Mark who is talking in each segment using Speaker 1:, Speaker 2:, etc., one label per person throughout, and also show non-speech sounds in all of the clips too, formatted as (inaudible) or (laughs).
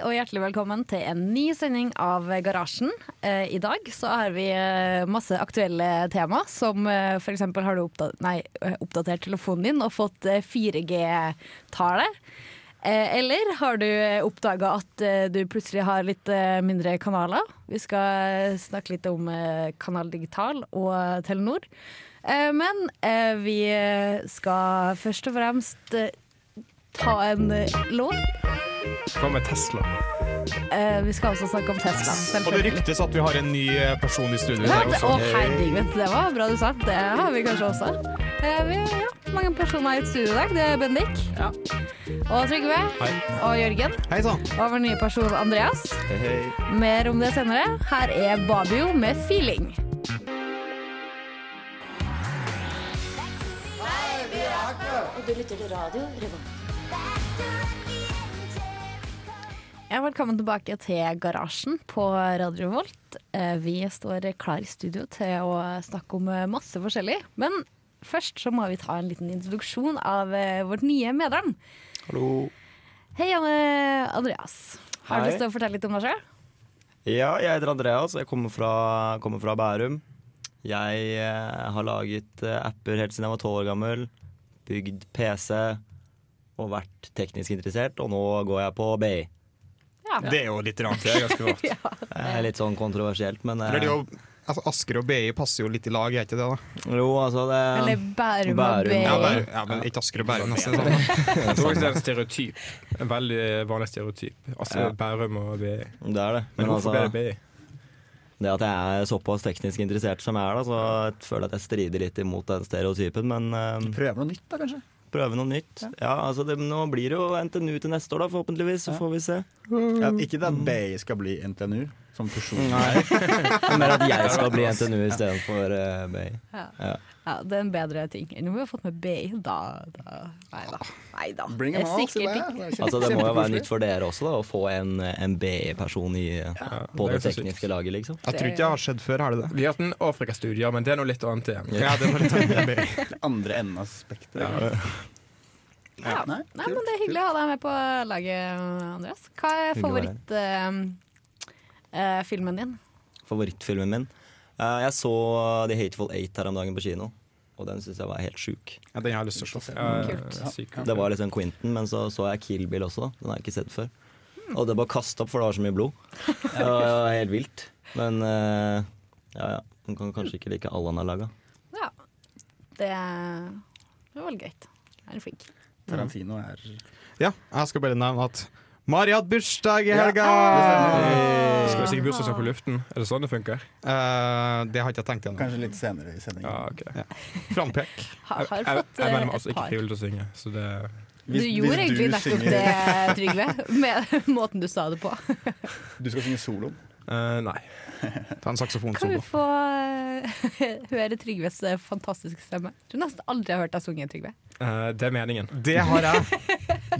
Speaker 1: og hjertelig velkommen til en ny sending av Garasjen. Eh, I dag så har vi eh, masse aktuelle tema, som eh, for eksempel har du oppda nei, eh, oppdatert telefonen din og fått eh, 4G-tallet. Eh, eller har du oppdaga at eh, du plutselig har litt eh, mindre kanaler? Vi skal snakke litt om eh, Kanal Digital og eh, Telenor. Eh, men eh, vi skal først og fremst eh, ta en eh, låt.
Speaker 2: Hva med Tesla?
Speaker 1: Eh, vi skal også snakke om Tesla.
Speaker 2: Og det
Speaker 1: selvfølgelig.
Speaker 2: ryktes at vi har en ny eh, person i studio i
Speaker 1: Ja,
Speaker 2: dag
Speaker 1: det-
Speaker 2: også.
Speaker 1: Å, herregud, det var bra du sa. Det har vi kanskje også. Eh, vi ja, mange personer i et studio i dag. Det er Bendik. Og Trygve.
Speaker 2: Hei.
Speaker 1: Og Jørgen.
Speaker 2: Hei sann.
Speaker 1: Og vår nye person Andreas. Mer om det senere. Her er Babio med 'Feeling'. Ja, velkommen tilbake til garasjen på Radio Volt. Eh, Vi står klar i studio til å snakke om eh, masse forskjellig. Men først så må vi ta en liten introduksjon av eh, vårt nye medlem.
Speaker 3: Hallo.
Speaker 1: Hei, Anne Andreas. Har du
Speaker 3: Hei.
Speaker 1: lyst til å fortelle litt om deg sjøl?
Speaker 3: Ja, jeg heter Andreas, og jeg kommer fra, kommer fra Bærum. Jeg eh, har laget eh, apper helt siden jeg var tolv år gammel. Bygd PC og vært teknisk interessert, og nå går jeg på BI.
Speaker 2: Det er jo litt rart. Det er ganske rart.
Speaker 3: Det er litt sånn kontroversielt, men eh,
Speaker 2: (laughs) Eller det er jo, altså, Asker og BI passer jo litt i lag, er ikke det? da?
Speaker 3: Jo, altså det
Speaker 1: Eller Bærum og
Speaker 3: Bærum.
Speaker 1: BI?
Speaker 2: Ja,
Speaker 3: Ja.
Speaker 2: bare, ja men ikke Asker og Bærum. Altså, sånn.
Speaker 4: Jeg tror faktisk det er en stereotyp. En veldig vanlig stereotyp. Altså
Speaker 3: Ja.
Speaker 4: Bærum og BI.
Speaker 3: Det er det.
Speaker 4: Men
Speaker 3: Men
Speaker 4: hvorfor
Speaker 3: altså,
Speaker 4: ble det BI?
Speaker 3: det at jeg er såpass teknisk interessert som jeg er, da, så jeg føler jeg at jeg strider litt imot den stereotypen, men eh,
Speaker 5: Prøve noe nytt, da, kanskje?
Speaker 3: prøve noe nytt. Ja, altså det, Nå blir det jo NTNU til neste år, da, forhåpentligvis, så får vi se.
Speaker 1: Mm.
Speaker 5: Ja, ikke det at BI skal bli NTNU, som fusjon.
Speaker 3: Mer at jeg skal bli NTNU istedenfor uh, BI.
Speaker 1: Ja, det er en bedre ting enn om vi har fått med BI. Da, da. Nei da. Nei da.
Speaker 5: Bring
Speaker 1: Det er
Speaker 5: them all, sier
Speaker 1: sikkert
Speaker 5: jeg.
Speaker 1: ikke
Speaker 5: Det er kjempe-
Speaker 3: Altså Det må jo være
Speaker 5: kjempekoselig.
Speaker 3: nytt for dere også, da, å få en, en BI-person i på
Speaker 4: det er
Speaker 3: det
Speaker 4: jo så sykt.
Speaker 3: tekniske laget, liksom.
Speaker 2: Jeg tror ikke jeg har skjedd før, har det det?
Speaker 4: Vi har hatt en Afrikastudier, men det er noe litt annet igjen.
Speaker 2: Ja, det var litt
Speaker 4: (laughs)
Speaker 2: rart med BI.
Speaker 5: Andre enden av spekteret.
Speaker 1: Ja. Nei,
Speaker 5: Nei,
Speaker 1: men Det er hyggelig å ha deg med på laget, Andreas. Hva er
Speaker 3: Hyggelig å være her.
Speaker 1: favorittfilmen din?
Speaker 3: Favorittfilmen min. Eh, jeg så The Hateful Eight her om dagen på kino, og den syns jeg var helt sjuk.
Speaker 2: Ja, den har jeg lyst til å se.
Speaker 1: Kult.
Speaker 4: Ja, sykt kult.
Speaker 3: Det var liksom Quentin, men så så jeg Kill Bill også. Den har jeg ikke sett før. Og det bare kasta opp, for det var så mye blod. Det var helt vilt. Men eh, ja, ja. Man kan kanskje ikke like alle han har laga.
Speaker 1: Ja, det det var greit. Er du flink?
Speaker 5: Tarantino er
Speaker 2: Ja, jeg skal bare nevne at Mari har hatt bursdag i helga!
Speaker 4: Skal vi sikkert bursdagsdag på luften? Er det sånn det funker?
Speaker 2: Eh, det har ikke jeg tenkt gjennom.
Speaker 5: kanskje litt senere i sendingen.
Speaker 4: Ja, ok.
Speaker 2: Frampek.
Speaker 1: Har, har
Speaker 4: Jeg, jeg,
Speaker 1: fått
Speaker 4: jeg
Speaker 1: eh,
Speaker 4: mener meg altså
Speaker 1: et
Speaker 4: ikke
Speaker 1: par.
Speaker 4: frivillig til å synge, så det
Speaker 1: Du gjorde
Speaker 5: hvis
Speaker 1: egentlig
Speaker 5: du
Speaker 1: nettopp
Speaker 5: synger-
Speaker 1: det, Trygve, (laughs) med måten du sa det på.
Speaker 5: Du skal synge soloen.
Speaker 4: eh, Nei.
Speaker 2: Ta en
Speaker 1: Kan vi
Speaker 2: saksofonsolo.
Speaker 1: få eh, (laughs) høre Trygves eh, fantastiske stemme? Du har nesten aldri har hørt deg sunge, Trygve.
Speaker 4: Eh, det er meningen.
Speaker 2: Det har jeg.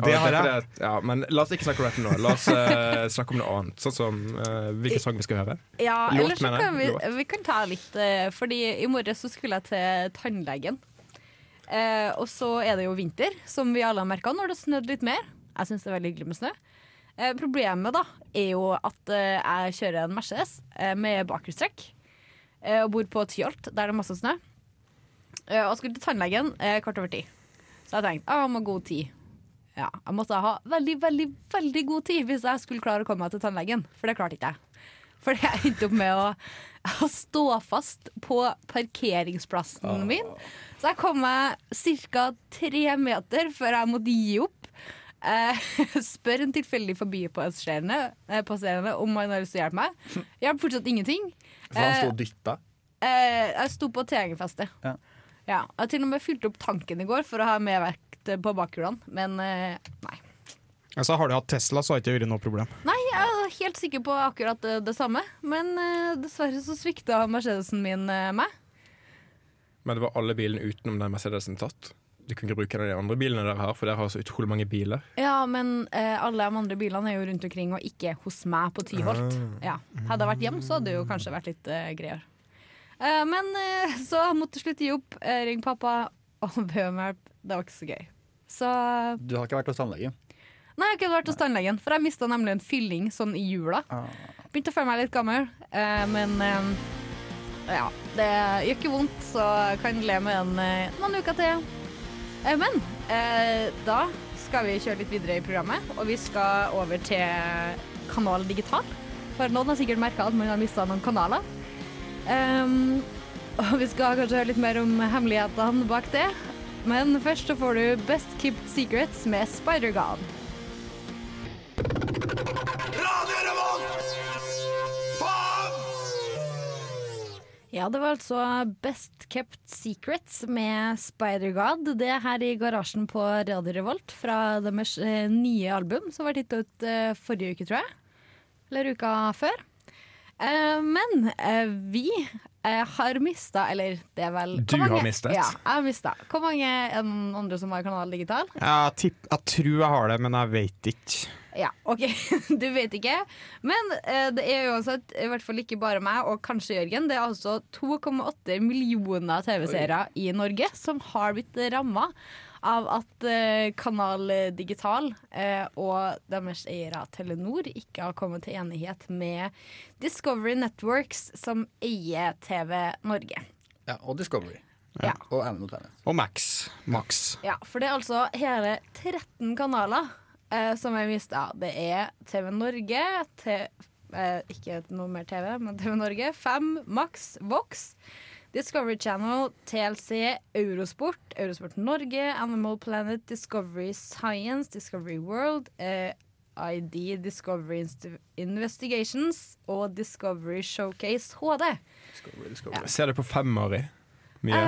Speaker 2: Det har jeg.
Speaker 4: er fordi at- ja, men la oss ikke snakke om rappen nå. La oss eh, snakke om noe annet. Sånn som eh, hvilken sang vi skal høre.
Speaker 1: Ja,
Speaker 4: Låt,
Speaker 1: eller så
Speaker 4: mener jeg.
Speaker 1: kan vi,
Speaker 4: Låt.
Speaker 1: vi kan ta litt eh, Fordi i morges så skulle jeg til tannlegen Eh, Og så er det jo vinter Som vi alle har merket Nå har det snødd litt mer Jeg synes det er veldig hyggelig med snø Eh, Problemet da er jo at eh, jeg kjører en Mercedes eh, Med bakhjulstrekk eh, Og bor på Tyholt Der er det masse snø Eh, Og skulle til tannlegen eh, kvart over ti Så jeg tenkte, ah, jeg må ha god tid ja, jeg måtte ha veldig, veldig, veldig god tid hvis jeg skulle klare å komme meg til tannlegen, for det klarte ikke jeg. For jeg endte opp med å, å stå fast på parkeringsplassen
Speaker 5: Ah.
Speaker 1: min. Så jeg kom meg ca. tre meter før jeg måtte gi opp. Eh, (laughs) spør en tilfeldig forbipasserende eh, passerende om han har lyst til å hjelpe meg. Hjelper fortsatt ingenting.
Speaker 5: For han
Speaker 1: Eh,
Speaker 5: sto og dytta.
Speaker 1: Eh, jeg sto på T-hengerfestet. Ja.
Speaker 5: Ja.
Speaker 1: Jeg har til og med fylte opp tanken i går for å ha mer vekt på bakhjulene, men eh, nei.
Speaker 2: Altså, har du hatt Tesla, så har det ikke vært noe problem.
Speaker 1: Nei, jeg er helt sikker på akkurat det, det samme, men eh, dessverre så svikta Mercedesen min eh, meg.
Speaker 4: Men det var alle bilene utenom den Mercedesen tatt. Du kunne ikke bruke den av de andre bilene dere har, for dere har så utrolig mange biler.
Speaker 1: Ja, men eh, alle de andre bilene er jo rundt omkring og ikke hos meg på Tyholt. Ja. Hadde jeg vært hjemme, så hadde det jo kanskje vært litt eh, greier. Eh, men eh, så jeg måtte jeg slutte å gi opp, eh, ringe pappa og be om hjelp. Det var ikke så gøy. Så
Speaker 5: Du har ikke vært hos tannlegen.
Speaker 1: Nei, jeg har ikke vært hos tannlegen, for jeg mista nemlig en fylling sånn i jula. Begynte å føle meg litt gammel, eh, men eh, ja. Det gjør ikke vondt, så jeg kan le med den eh, noen uker til. Eh, men eh, da skal vi kjøre litt videre i programmet, og vi skal over til Kanal Digital. For noen har sikkert merka at man har mista noen kanaler. Ehm, og vi skal kanskje høre litt mer om hemmelighetene bak det. Men først så får du Best Kept Secrets med Spider-God. Ja, det var altså Best Kept Secrets med Spider-God. Det er her i garasjen på Radio Revolt fra deres eh, nye album, som var tittet ut eh, forrige uke, tror jeg. Eller uka før. Eh, men eh, vi eh, har mista, eller det er vel
Speaker 4: Du
Speaker 1: Hvor mange-
Speaker 4: har mistet.
Speaker 1: Ja, jeg har mista. Hvor mange er det andre som har Kanal Digital?
Speaker 2: Jeg, tipp, jeg tror jeg har det, men jeg vet ikke.
Speaker 1: Ja, OK, (laughs) du vet ikke. Men eh, det er uansett i hvert fall ikke bare meg og kanskje Jørgen. Det er altså 2,8 millioner TV-seere i Norge som har blitt ramma av at eh, Kanal Digital eh, og deres eiere Telenor ikke har kommet til enighet med Discovery Networks, som eier TV Norge.
Speaker 5: Ja, og Discovery.
Speaker 1: Ja.
Speaker 5: Og Animal Planet.
Speaker 2: Og Max. Max.
Speaker 1: Ja, for det er altså hele 13 kanaler eh, som er mista. Det er TV Norge, te, eh, ikke noe mer TV, men TV Norge, Fem, Max, Vox, Discovery Channel, TLC, Eurosport, Eurosport Norge, Animal Planet, Discovery Science, Discovery World, eh, ID, Discovery Inst- Investigations og Discovery Showcase HD.
Speaker 5: Discovery, Discovery.
Speaker 4: Ser du på fem, Mari? Mye.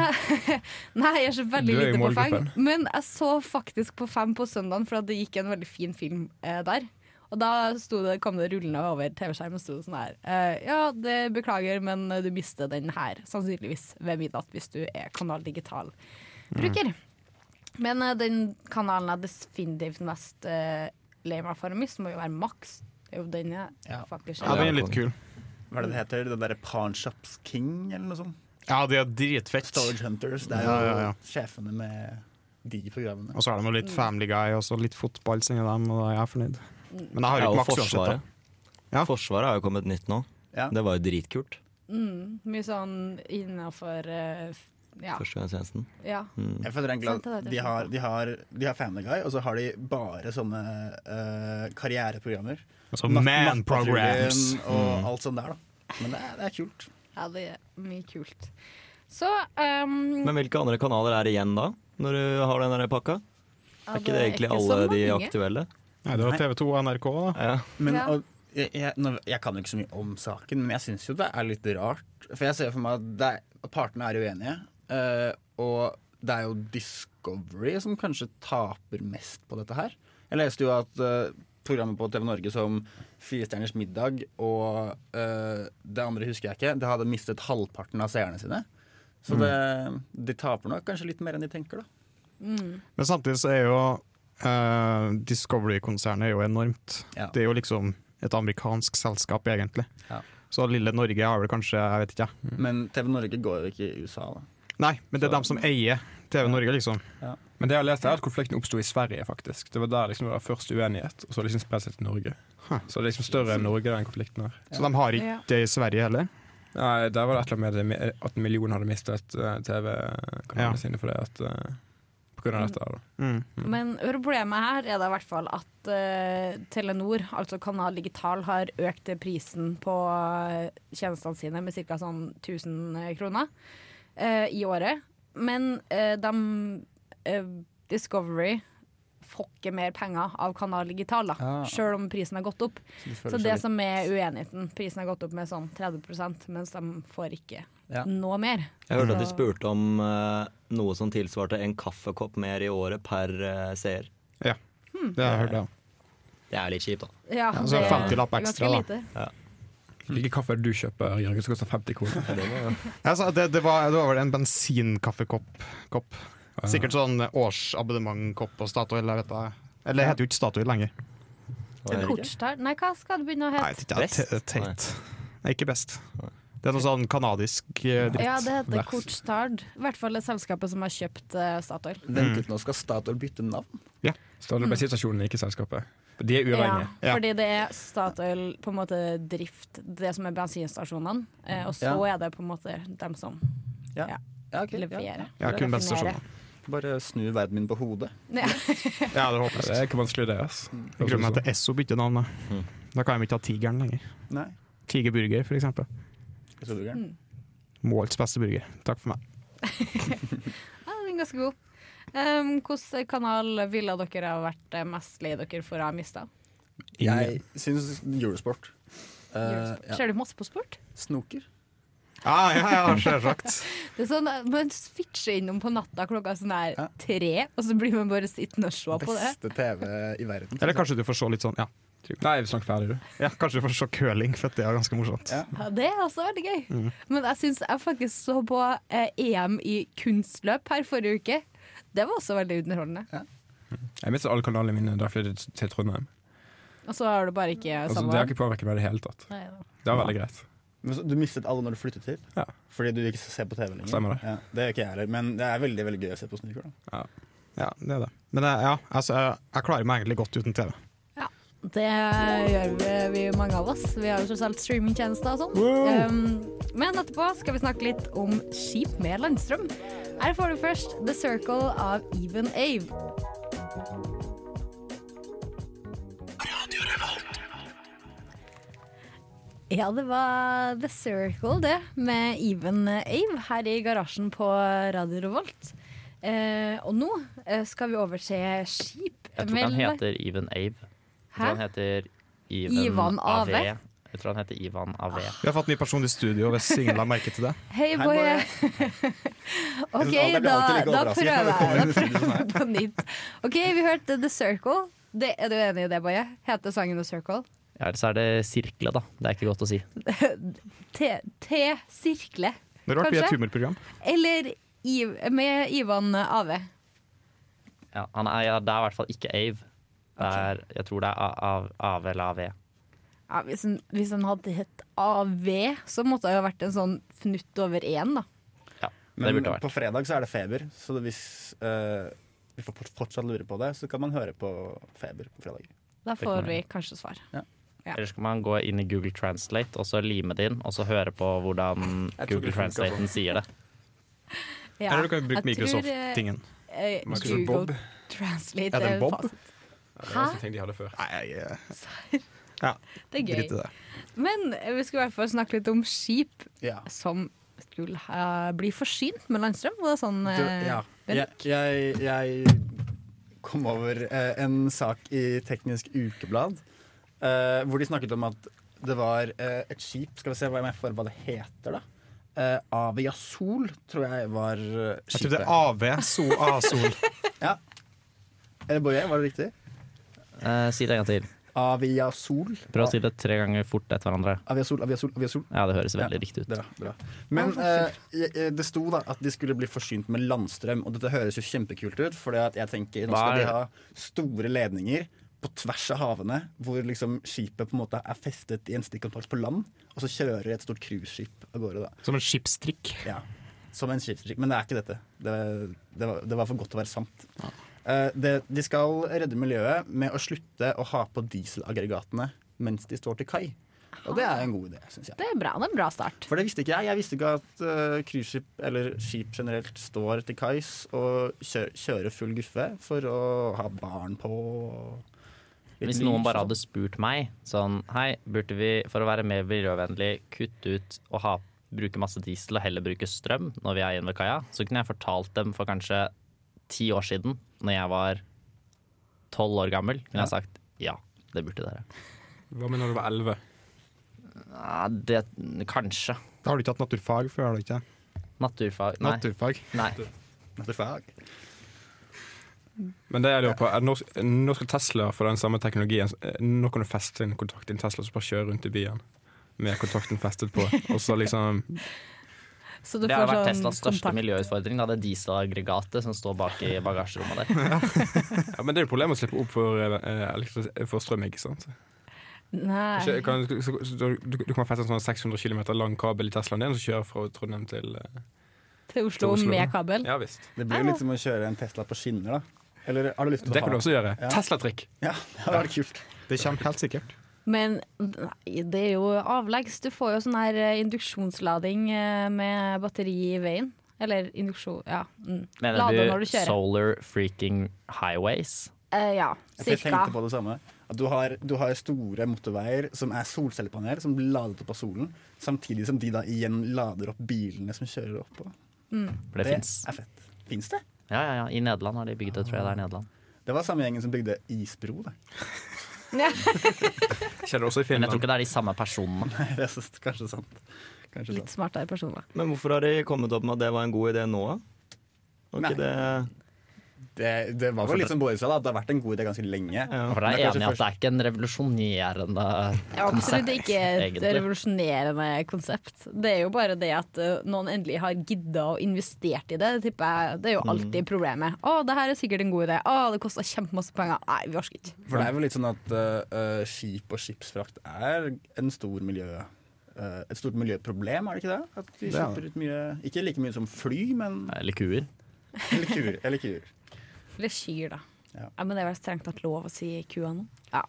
Speaker 1: Nei, jeg er så veldig
Speaker 4: Du er i
Speaker 1: lite på fem.
Speaker 4: målgruppen.
Speaker 1: Men jeg så faktisk på fem på søndagen, for at det gikk en veldig fin film eh, der. Og da sto det, kom det rullende over TV-skjermen og sto det sånn her eh, Ja, det beklager, men du mister den her, sannsynligvis ved midnatt, hvis du er Kanal
Speaker 4: Mm.
Speaker 1: Digital-bruker. Men eh, den kanalen jeg definitivt mest eh, lei meg for å miste, må jo være Max. Det er jo den jeg
Speaker 5: Ja.
Speaker 1: faktisk
Speaker 2: Ja,
Speaker 1: ser.
Speaker 2: den er litt kul.
Speaker 5: Hva er det det heter? Den derre Pawnshops King, eller noe sånt?
Speaker 2: Ja, det er dritfett. Og
Speaker 5: Storage Hunters. Det er jo
Speaker 2: Ja, ja, ja.
Speaker 5: sjefene med de programmene.
Speaker 2: så er det noe litt Family Guy og så litt fotball inni dem, og da er jeg fornøyd. Men jeg har
Speaker 3: Ja,
Speaker 2: jo
Speaker 3: og
Speaker 2: ikke maks uansett.
Speaker 3: Forsvaret.
Speaker 2: da. Ja.
Speaker 3: Forsvaret har jo kommet nytt nå.
Speaker 5: Ja.
Speaker 3: Det var jo dritkult.
Speaker 1: Mm, mye sånn innafor ja.
Speaker 3: Førstegangstjenesten. Mm.
Speaker 1: ja.
Speaker 5: Jeg føler egentlig
Speaker 1: Sant, det vet
Speaker 5: at
Speaker 1: jeg
Speaker 5: de
Speaker 1: ikke.
Speaker 5: har, de, har, de har Family Guy, og så har de bare sånne eh, karriereprogrammer.
Speaker 2: Altså
Speaker 5: Natt-
Speaker 2: man
Speaker 5: Nattpatruljen
Speaker 2: programs.
Speaker 5: Og alt sånt der, da. Men det er, det er kult.
Speaker 1: Ja, det er mye kult. Så ehm,
Speaker 3: Men hvilke andre kanaler er igjen da, når du har den der pakka?
Speaker 1: ja,
Speaker 3: Er ikke det egentlig
Speaker 1: ikke så
Speaker 3: alle de
Speaker 1: mange.
Speaker 3: aktuelle?
Speaker 2: Nei, det var TV2 og NRK, da.
Speaker 3: Ja.
Speaker 5: Men,
Speaker 1: Ja.
Speaker 5: og, jeg, jeg, nå, jeg kan jo ikke så mye om saken, men jeg syns jo det er litt rart. For jeg ser for meg at det er, partene er uenige, eh, og det er jo Discovery som kanskje taper mest på dette her. Jeg leste jo at eh, programmet på TV Norge som Firestjerners middag og eh, det andre husker jeg ikke, det hadde mistet halvparten av seerne sine. Så det, de taper nok kanskje litt mer enn de tenker, da.
Speaker 1: Mm.
Speaker 2: Men samtidig så er jo eh, Discovery-konsernet er jo enormt.
Speaker 5: Ja.
Speaker 2: Det er jo liksom et amerikansk selskap, egentlig.
Speaker 5: Ja.
Speaker 2: Så lille Norge har vel kanskje Jeg vet ikke. jeg.
Speaker 5: Men TV Norge går jo ikke i USA, da.
Speaker 2: Nei, men det er dem som eier TV Norge, liksom.
Speaker 4: Men det jeg har lest er at konflikten oppsto i Sverige, faktisk. Det var der liksom det var først uenighet, og så har det liksom spredt seg til Norge.
Speaker 2: Huh.
Speaker 4: Så det er liksom større enn Norge, den konflikten her.
Speaker 2: Så de har ikke
Speaker 1: Ja.
Speaker 2: det i Sverige heller.
Speaker 4: Nei, der var det et eller annet med det, at en million hadde mistet eh, TV-kanalene
Speaker 2: Ja.
Speaker 4: sine for det at eh, på grunn av dette. her, Da.
Speaker 2: Mm.
Speaker 1: Men problemet her er da i hvert fall at eh, Telenor, altså Kanal Digital, har økt prisen på eh, tjenestene sine med ca. sånn 1000 kroner eh, i året. Men eh, de eh, Discovery får ikke mer penger av Kanal Digital, da,
Speaker 5: Ah.
Speaker 1: sjøl om prisen har gått opp.
Speaker 5: de føler
Speaker 1: Så
Speaker 5: seg
Speaker 1: det
Speaker 5: litt-
Speaker 1: som er uenigheten, prisen har gått opp med sånn 30 mens de får ikke
Speaker 5: Ja.
Speaker 1: noe mer.
Speaker 3: Jeg hørte at de
Speaker 1: Så-
Speaker 3: spurte om eh, noe som tilsvarte en kaffekopp mer i året per eh, seer.
Speaker 2: Ja,
Speaker 1: Hmm.
Speaker 2: det har jeg hørt. Ja.
Speaker 3: Det er litt kjipt, da.
Speaker 1: Ja,
Speaker 2: så
Speaker 1: det er
Speaker 2: 50 lapp
Speaker 1: ganske
Speaker 2: ekstra, da.
Speaker 1: lite.
Speaker 4: Hvilken kaffe er det du kjøper, Jørgen, som koster 50 kroner?
Speaker 2: Ja, så det, det, var, det var vel en bensinkaffekopp. Kopp. Sikkert sånn årsabonnementkopp på Statoil. Jeg vet det. Eller det heter jo ikke Statoil lenger.
Speaker 3: Var det ikke?
Speaker 1: Kortstart Nei, hva skal det begynne å
Speaker 2: Nei,
Speaker 1: hete?
Speaker 2: det er
Speaker 3: Best?
Speaker 2: te- teit. Nei, ikke best. Det er noe sånn kanadisk eh, dritt.
Speaker 1: Ja, det heter
Speaker 4: Vers.
Speaker 1: Kortstart. I hvert fall det selskapet som har kjøpt eh, Statoil.
Speaker 5: Vent litt, nå skal Statoil bytte navn.
Speaker 4: Statoil er bensinstasjonen, ikke selskapet. De er uavhengige.
Speaker 2: Ja.
Speaker 1: Fordi det er Statoil, på en måte drift, det som er bensinstasjonene, eh, og så
Speaker 5: Ja.
Speaker 1: er det på en måte dem som (laughs)
Speaker 5: Ja, ok, ja,
Speaker 1: leverer.
Speaker 2: Ja,
Speaker 1: Raffinerer.
Speaker 2: kun bensinstasjoner.
Speaker 5: Bare snu verden min på hodet.
Speaker 1: Ja.
Speaker 2: Ja, det er
Speaker 4: (laughs) Ja,
Speaker 2: håpløst.
Speaker 4: det er ikke vanskelig, det. sånn. ass.
Speaker 2: Jeg gruer meg til Esso bytter navn. Da. da kan de ikke ha Tigeren lenger.
Speaker 5: Nei.
Speaker 2: Tigerburger, for eksempel.
Speaker 5: Jeg tror du er gæren.
Speaker 2: Målts beste burger. Takk for meg.
Speaker 1: Ja, den er ganske god. Um, Hvilken kanal ville dere ha vært eh, mest lei dere for å ha mista?
Speaker 5: Jeg syns Eurosport. Eh, ja.
Speaker 1: Ser du masse på sport?
Speaker 5: Snoker.
Speaker 2: Ja, ja, ja, selvsagt.
Speaker 1: Det er sånn, eh, Man switcher innom på natta klokka sånn der
Speaker 5: Ja.
Speaker 1: tre, og så blir man bare sittende og se på det.
Speaker 5: Beste TV i verden.
Speaker 2: Eller kanskje du får se litt sånn ja.
Speaker 4: Nei, snakk ferdig, du.
Speaker 2: ja, kanskje du får se curling, for det er ganske morsomt.
Speaker 5: Ja.
Speaker 1: Ja, det er også veldig gøy. Men jeg syns jeg faktisk så på eh, EM i kunstløp her forrige uke. Det var også veldig underholdende.
Speaker 4: Jeg mister alle kanalene mine da jeg flyttet til Trondheim.
Speaker 1: Og så har du bare ikke
Speaker 4: Altså, det har
Speaker 1: samme
Speaker 4: ikke påvirket meg i det hele tatt.
Speaker 1: Nei da.
Speaker 4: Det var veldig greit.
Speaker 5: Men så, du mistet alle når du flyttet hit?
Speaker 4: Ja.
Speaker 5: Fordi du ikke ser på TV lenger?
Speaker 4: Stemmer det.
Speaker 5: Ja, det gjør ikke jeg heller, men det er veldig veldig gøy å se på snoker. Da.
Speaker 2: Ja, det er det. Men eh, ja, altså, jeg, jeg klarer meg egentlig godt uten TV.
Speaker 1: Det gjør vi- vi mange av oss. Vi har jo tross alt streamingtjenester og sånn. Um, men etterpå skal vi snakke litt om skip med landstrøm. Her får du først The Circle av Even Ave. Ja, det var The Circle, det, med Even Ave her i garasjen på Radio Revolt. Eh, og nå eh, skal vi over til skip.
Speaker 6: Jeg tror ikke han
Speaker 1: med-
Speaker 6: heter Even Ave. Jeg tror
Speaker 1: Hæ?
Speaker 6: han heter Even,
Speaker 1: Ivan Ave? Ah.
Speaker 6: Ave. Jeg tror han heter Ivan Ave.
Speaker 2: Vi har fått ny person i studio, hvis ingen la merke til det.
Speaker 1: Hei,
Speaker 5: Hei,
Speaker 1: Boje. (laughs) OK,
Speaker 5: Jeg blir
Speaker 1: da,
Speaker 5: alltid like
Speaker 1: da
Speaker 5: overrasket når
Speaker 1: prøver
Speaker 5: det kommer en
Speaker 1: jeg
Speaker 5: film som er.
Speaker 1: (laughs) på nytt. OK, vi hørte The Circle. Det, er du enig i det, Boje? Heter sangen The Circle?
Speaker 6: Ja, Ellers er det Sirkle, da. Det er ikke godt å si.
Speaker 1: T-sirkle.
Speaker 2: Det er rart vi er et
Speaker 1: Kanskje?
Speaker 2: humorprogram.
Speaker 1: Eller Iv, med Ivan Ave.
Speaker 6: Ja, han er, ja, det er i hvert fall ikke Ave. Det er, jeg tror det er A- Av- Ave eller Ave.
Speaker 1: Ja, hvis, han, hvis han hadde hett AV, så måtte det ha vært en sånn fnutt over én, da.
Speaker 6: Ja, det
Speaker 5: Men
Speaker 6: burde det vært.
Speaker 5: på fredag så er det feber, så hvis eh, vi får fort- fortsatt lure på det, så kan man høre på feber på fredag.
Speaker 1: Da får vi kanskje svar. ja.
Speaker 6: Eller skal man gå inn i Google Translate og så lime det inn, og så høre på hvordan
Speaker 4: Jeg tror
Speaker 6: Google
Speaker 4: det funker sånn.
Speaker 6: Translaten sier det.
Speaker 1: Ja,
Speaker 2: Eller du kan
Speaker 1: jeg
Speaker 2: bruke
Speaker 1: tror, eh,
Speaker 2: Microsoft-tingen.
Speaker 1: eh,
Speaker 4: Microsoft
Speaker 1: Google
Speaker 4: Bob.
Speaker 1: Translate.
Speaker 2: Er det en
Speaker 1: eh,
Speaker 2: Bob?
Speaker 1: fasit.
Speaker 4: Det var en ting de hadde før.
Speaker 2: Nei, jeg eh,
Speaker 1: Det er
Speaker 2: driter i
Speaker 1: gøy.
Speaker 2: det.
Speaker 1: Men eh, vi skulle i hvert fall snakke litt om skip
Speaker 5: Ja.
Speaker 1: som skulle eh, bli forsynt med landstrøm. Og det er sånn
Speaker 5: Du,
Speaker 1: eh,
Speaker 5: ja. Jeg,
Speaker 1: Bendik?
Speaker 5: jeg, jeg kom over eh, en sak i Teknisk Ukeblad eh, hvor de snakket om at det var eh, et skip Skal vi se hva jeg får hva det heter, da. Eh, Avia Sol, tror jeg var eh,
Speaker 2: Jeg tror det
Speaker 5: skipet.
Speaker 2: er AV, so, A-sol.
Speaker 5: Eh, Boje, var det riktig?
Speaker 6: Eh, si det en gang til.
Speaker 5: Avia Sol.
Speaker 6: Prøv å si det tre ganger fort etter hverandre.
Speaker 5: Avia Sol, Avia Sol, Avia Sol.
Speaker 6: Ja, det høres veldig
Speaker 5: Ja.
Speaker 6: riktig ut.
Speaker 5: Bra, bra. Men eh, jeg- jeg- det sto da at de skulle bli forsynt med landstrøm, og dette høres jo kjempekult ut. For jeg tenker nå
Speaker 6: Hva
Speaker 5: skal
Speaker 6: er-
Speaker 5: de ha store ledninger på tvers av havene, hvor liksom skipet på en måte er festet i en stikkontakt på land, og så kjører et stort cruiseskip av gårde. da
Speaker 2: Som en skipstrikk.
Speaker 5: ja. Som en skipsdrikk. Men det er ikke dette. Det, det, var, det var for godt til å være sant. Eh, det, de skal redde miljøet med å slutte å ha på dieselaggregatene mens de står til kai. Og det er en god idé, syns jeg.
Speaker 1: Det er bra. Det er en bra start.
Speaker 5: For det visste ikke jeg. Jeg visste ikke at eh, cruiseskip, eller skip generelt, står til kais og kjører, kjører full guffe for å ha barn på. Litt
Speaker 6: Hvis
Speaker 5: lys
Speaker 6: noen
Speaker 5: og
Speaker 6: bare
Speaker 5: sånn.
Speaker 6: hadde spurt meg sånn Hei, burde vi for å være mer miljøvennlig kutte ut og ha, bruke masse diesel og heller bruke strøm når vi er inne ved kaia, så kunne jeg fortalt dem for kanskje ti år siden, når jeg var tolv år gammel, kunne jeg sagt ja, det burde dere.
Speaker 4: Hva med når du var elleve?
Speaker 6: Ja, det Kanskje.
Speaker 2: Da har du ikke hatt naturfag før, har du ikke?
Speaker 6: Naturfag Nei.
Speaker 2: Naturfag.
Speaker 6: nei.
Speaker 5: Naturfag.
Speaker 4: Men det jeg lurer på, er nå, nå skal Tesla få den samme teknologien. eh, Nå kan du feste en kontakt i en Tesla som bare kjører rundt i byen med kontakten festet på. Og så liksom
Speaker 1: Så du
Speaker 6: Det
Speaker 1: får
Speaker 6: har vært
Speaker 1: sånn
Speaker 6: Teslas største
Speaker 1: kontakt.
Speaker 6: miljøutfordring. Da, det dieselaggregatet som står bak i
Speaker 1: (laughs)
Speaker 6: bagasjerommet der.
Speaker 4: Ja, Men det er jo problemet å slippe opp for, eh, elektris for strøm, ikke sant?
Speaker 1: Nei.
Speaker 4: Ikke, kan, så, så, du, du kan feste en sånn 600 km lang kabel i Teslaen din som kjører fra Trondheim til eh,
Speaker 1: Til Oslo
Speaker 4: Til Oslo.
Speaker 1: med kabel.
Speaker 4: Ja visst.
Speaker 5: Det blir jo litt som å kjøre en Tesla på skinner, da. Eller har du lyst til å
Speaker 4: Det kan du
Speaker 5: ha?
Speaker 4: også gjøre.
Speaker 5: Ja.
Speaker 4: Tesla-trikk.
Speaker 5: Ja, (laughs) det hadde vært kult.
Speaker 2: Det kommer helt sikkert.
Speaker 1: Men nei, det er jo avleggs. Du får jo sånn her eh, induksjonslading eh, med batteri i veien. Eller induksjon Ja. Mm. Lade
Speaker 6: Mener
Speaker 1: når
Speaker 6: du
Speaker 1: du kjører.
Speaker 6: solar freaking highways?
Speaker 1: Eh, ja,
Speaker 5: For jeg
Speaker 1: cirka.
Speaker 5: tenkte
Speaker 1: (laughs)
Speaker 5: på det samme. At du har, du har store motorveier som er solcellepaneler, som blir ladet opp av solen, samtidig som de da igjen lader opp bilene som kjører oppå.
Speaker 6: For det,
Speaker 5: Det
Speaker 6: fins.
Speaker 5: er fett. Fins det?
Speaker 6: Ja, ja, ja. I Nederland har de bygd det, tror jeg. det er i Nederland.
Speaker 5: Det var samme gjengen som bygde isbro. Det.
Speaker 4: Skjer det også i
Speaker 6: Men jeg tror
Speaker 4: Finland.
Speaker 6: ikke det er de samme personene.
Speaker 5: Det er så- kanskje sant. Kanskje
Speaker 1: Litt
Speaker 5: sant.
Speaker 1: smartere personer.
Speaker 3: Men hvorfor har de kommet opp med at det var en god idé nå? Var
Speaker 5: Nei.
Speaker 3: ikke det
Speaker 5: Det, det var vel litt som Boris sa, da, at det har vært en god idé ganske lenge.
Speaker 6: For da er
Speaker 5: Men
Speaker 6: jeg
Speaker 5: kanskje
Speaker 6: enig i at det er ikke en revolusjonerende
Speaker 1: Ja, absolutt ikke et
Speaker 6: egentlig.
Speaker 1: revolusjonerende konsept. Det er jo bare det at eh, noen endelig har gidda og investert i det. Det, tipper jeg, det er jo alltid problemet. 'Å, det her er sikkert en god idé. Å, det kosta kjempemasse penger.' Nei, vi orker ikke.
Speaker 5: For det er vel litt sånn at eh, eh, skip og skipsfrakt er en stor miljø, eh, et stort miljøproblem, er det ikke det? At vi
Speaker 2: Det er
Speaker 5: slipper ut mye Ikke like mye som fly, men
Speaker 6: Eller kuer.
Speaker 5: Eller kuer. Eller kuer.
Speaker 1: Eller kyr, da.
Speaker 5: Ja.
Speaker 1: Ja. men det er vel strengt tatt lov å si kua nå. Ja,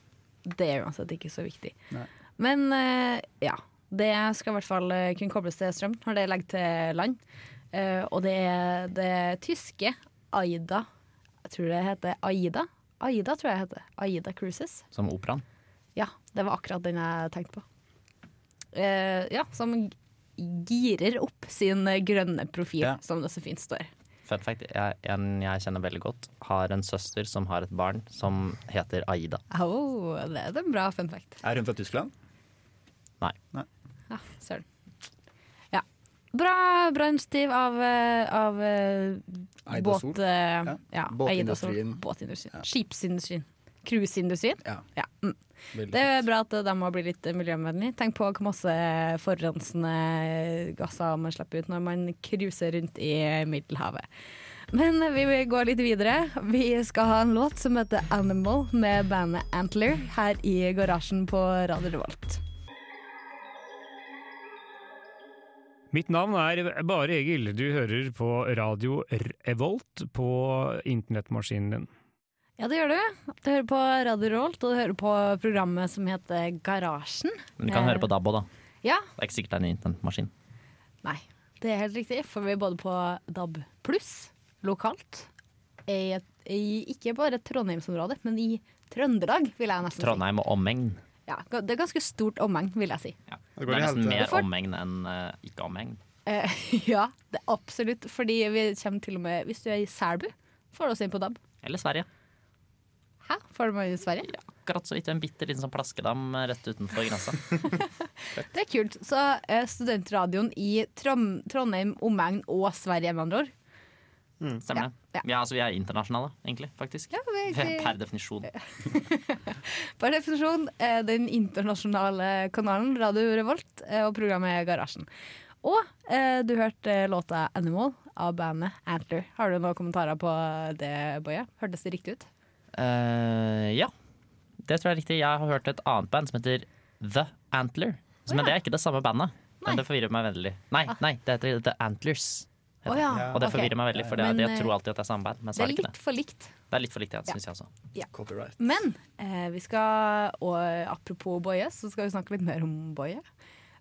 Speaker 1: Det er uansett ikke så viktig.
Speaker 5: Nei.
Speaker 1: Men eh, ja. Det skal i hvert fall eh, kunne kobles til strøm når det legger til land. Eh, og det er det tyske Aida Jeg tror det heter Aida. Aida tror jeg det heter. Aida Cruises.
Speaker 6: Som operaen.
Speaker 1: Ja, det var akkurat den jeg tenkte på. Eh, ja, som g- girer opp sin eh, grønne profil,
Speaker 5: Ja.
Speaker 1: som det så fint står.
Speaker 6: Fun fact, jeg, en jeg kjenner veldig godt, har en søster som har et barn som heter Aida.
Speaker 1: Au, det er en bra fun fact.
Speaker 5: Er hun fra Tyskland?
Speaker 6: Nei.
Speaker 1: Ja, søren. Ja. Bra, bra initiativ av, eh, av eh,
Speaker 5: Aida Sol.
Speaker 1: båt... eh,
Speaker 5: Ja.
Speaker 1: ja, Aida Sol.
Speaker 5: Båtindustrien.
Speaker 1: Båtindustrien. Skipsindustrien. Cruiseindustrien.
Speaker 5: Ja.
Speaker 1: Ja. Mm.
Speaker 5: veldig
Speaker 1: Det er
Speaker 5: fint.
Speaker 1: bra at eh, de må bli litt eh, miljøvennlige. Tenk på hvor masse forurensende gasser man slipper ut når man cruiser rundt i Middelhavet. Men eh, vi vil gå litt videre. Vi skal ha en låt som heter 'Animal' med bandet Antler her i garasjen på Radio Revolt.
Speaker 7: Mitt navn er Bare Egil. Du hører på radio Revolt på internettmaskinen din.
Speaker 1: Ja, det gjør du. Du hører på Radio Rolt, og du hører på programmet som heter Garasjen.
Speaker 6: Men du kan
Speaker 1: Eh.
Speaker 6: høre på Dabbo, da.
Speaker 1: Ja,
Speaker 6: Det er ikke sikkert det er en internettmaskin.
Speaker 1: nei, det er helt riktig, for vi er både på DAB pluss lokalt. I, et- i, ikke bare Trondheimsområdet, men i Trøndelag, vil jeg nesten
Speaker 6: Trondheim og omegn.
Speaker 1: si. Ja, ga- det er ganske stort omheng, vil jeg si.
Speaker 6: Ja.
Speaker 2: Det
Speaker 6: Det,
Speaker 2: går i
Speaker 6: er nesten
Speaker 2: helvete.
Speaker 6: mer
Speaker 1: Hvorfor?
Speaker 6: omegn enn eh, ikke omegn.
Speaker 1: Eh, (laughs) ja, det er absolutt, fordi vi kommer til og med Hvis du er i Selbu, får du oss inn på DAB.
Speaker 6: Eller Sverige.
Speaker 1: Hæ, får du meg i Sverige?
Speaker 6: Akkurat så vidt en bitte liten sånn plaskedam eh, rett utenfor grensa.
Speaker 1: Det er kult. Så eh, studentradioen i Trom Trondheim, omegn og Sverige, med andre ord.
Speaker 6: Stemmer det.
Speaker 1: Ja, ja.
Speaker 6: Ja. altså, vi er internasjonale, egentlig. faktisk.
Speaker 1: Ja, vi er egentlig-
Speaker 6: Per definisjon.
Speaker 1: Per definisjon eh, den internasjonale kanalen Radio Revolt eh, og programmet Garasjen. Og eh, du hørte låta 'Animal' av bandet Antler. Har du noen kommentarer på det, Boje? Hørtes det riktig ut?
Speaker 6: Eh, ja, det tror jeg er riktig. Jeg har hørt et annet band som heter The Antler. Så, men det er ikke det samme bandet.
Speaker 1: Nei.
Speaker 6: Men det forvirrer meg veldig. Nei, nei, det heter The Antlers.
Speaker 1: Å ja.
Speaker 6: Og det
Speaker 1: ok.
Speaker 6: forvirrer meg veldig, for det,
Speaker 1: Men,
Speaker 6: jeg
Speaker 1: eh,
Speaker 6: tror alltid at det er samme band. Men så
Speaker 1: Det
Speaker 6: er
Speaker 1: er
Speaker 6: det ikke
Speaker 1: litt
Speaker 6: det.
Speaker 1: for likt.
Speaker 6: Det er litt for likt, ja,
Speaker 1: Ja.
Speaker 6: synes jeg også.
Speaker 5: Copyright.
Speaker 1: Men eh, vi skal, og eh, apropos Boje, så skal vi snakke litt mer om Boje.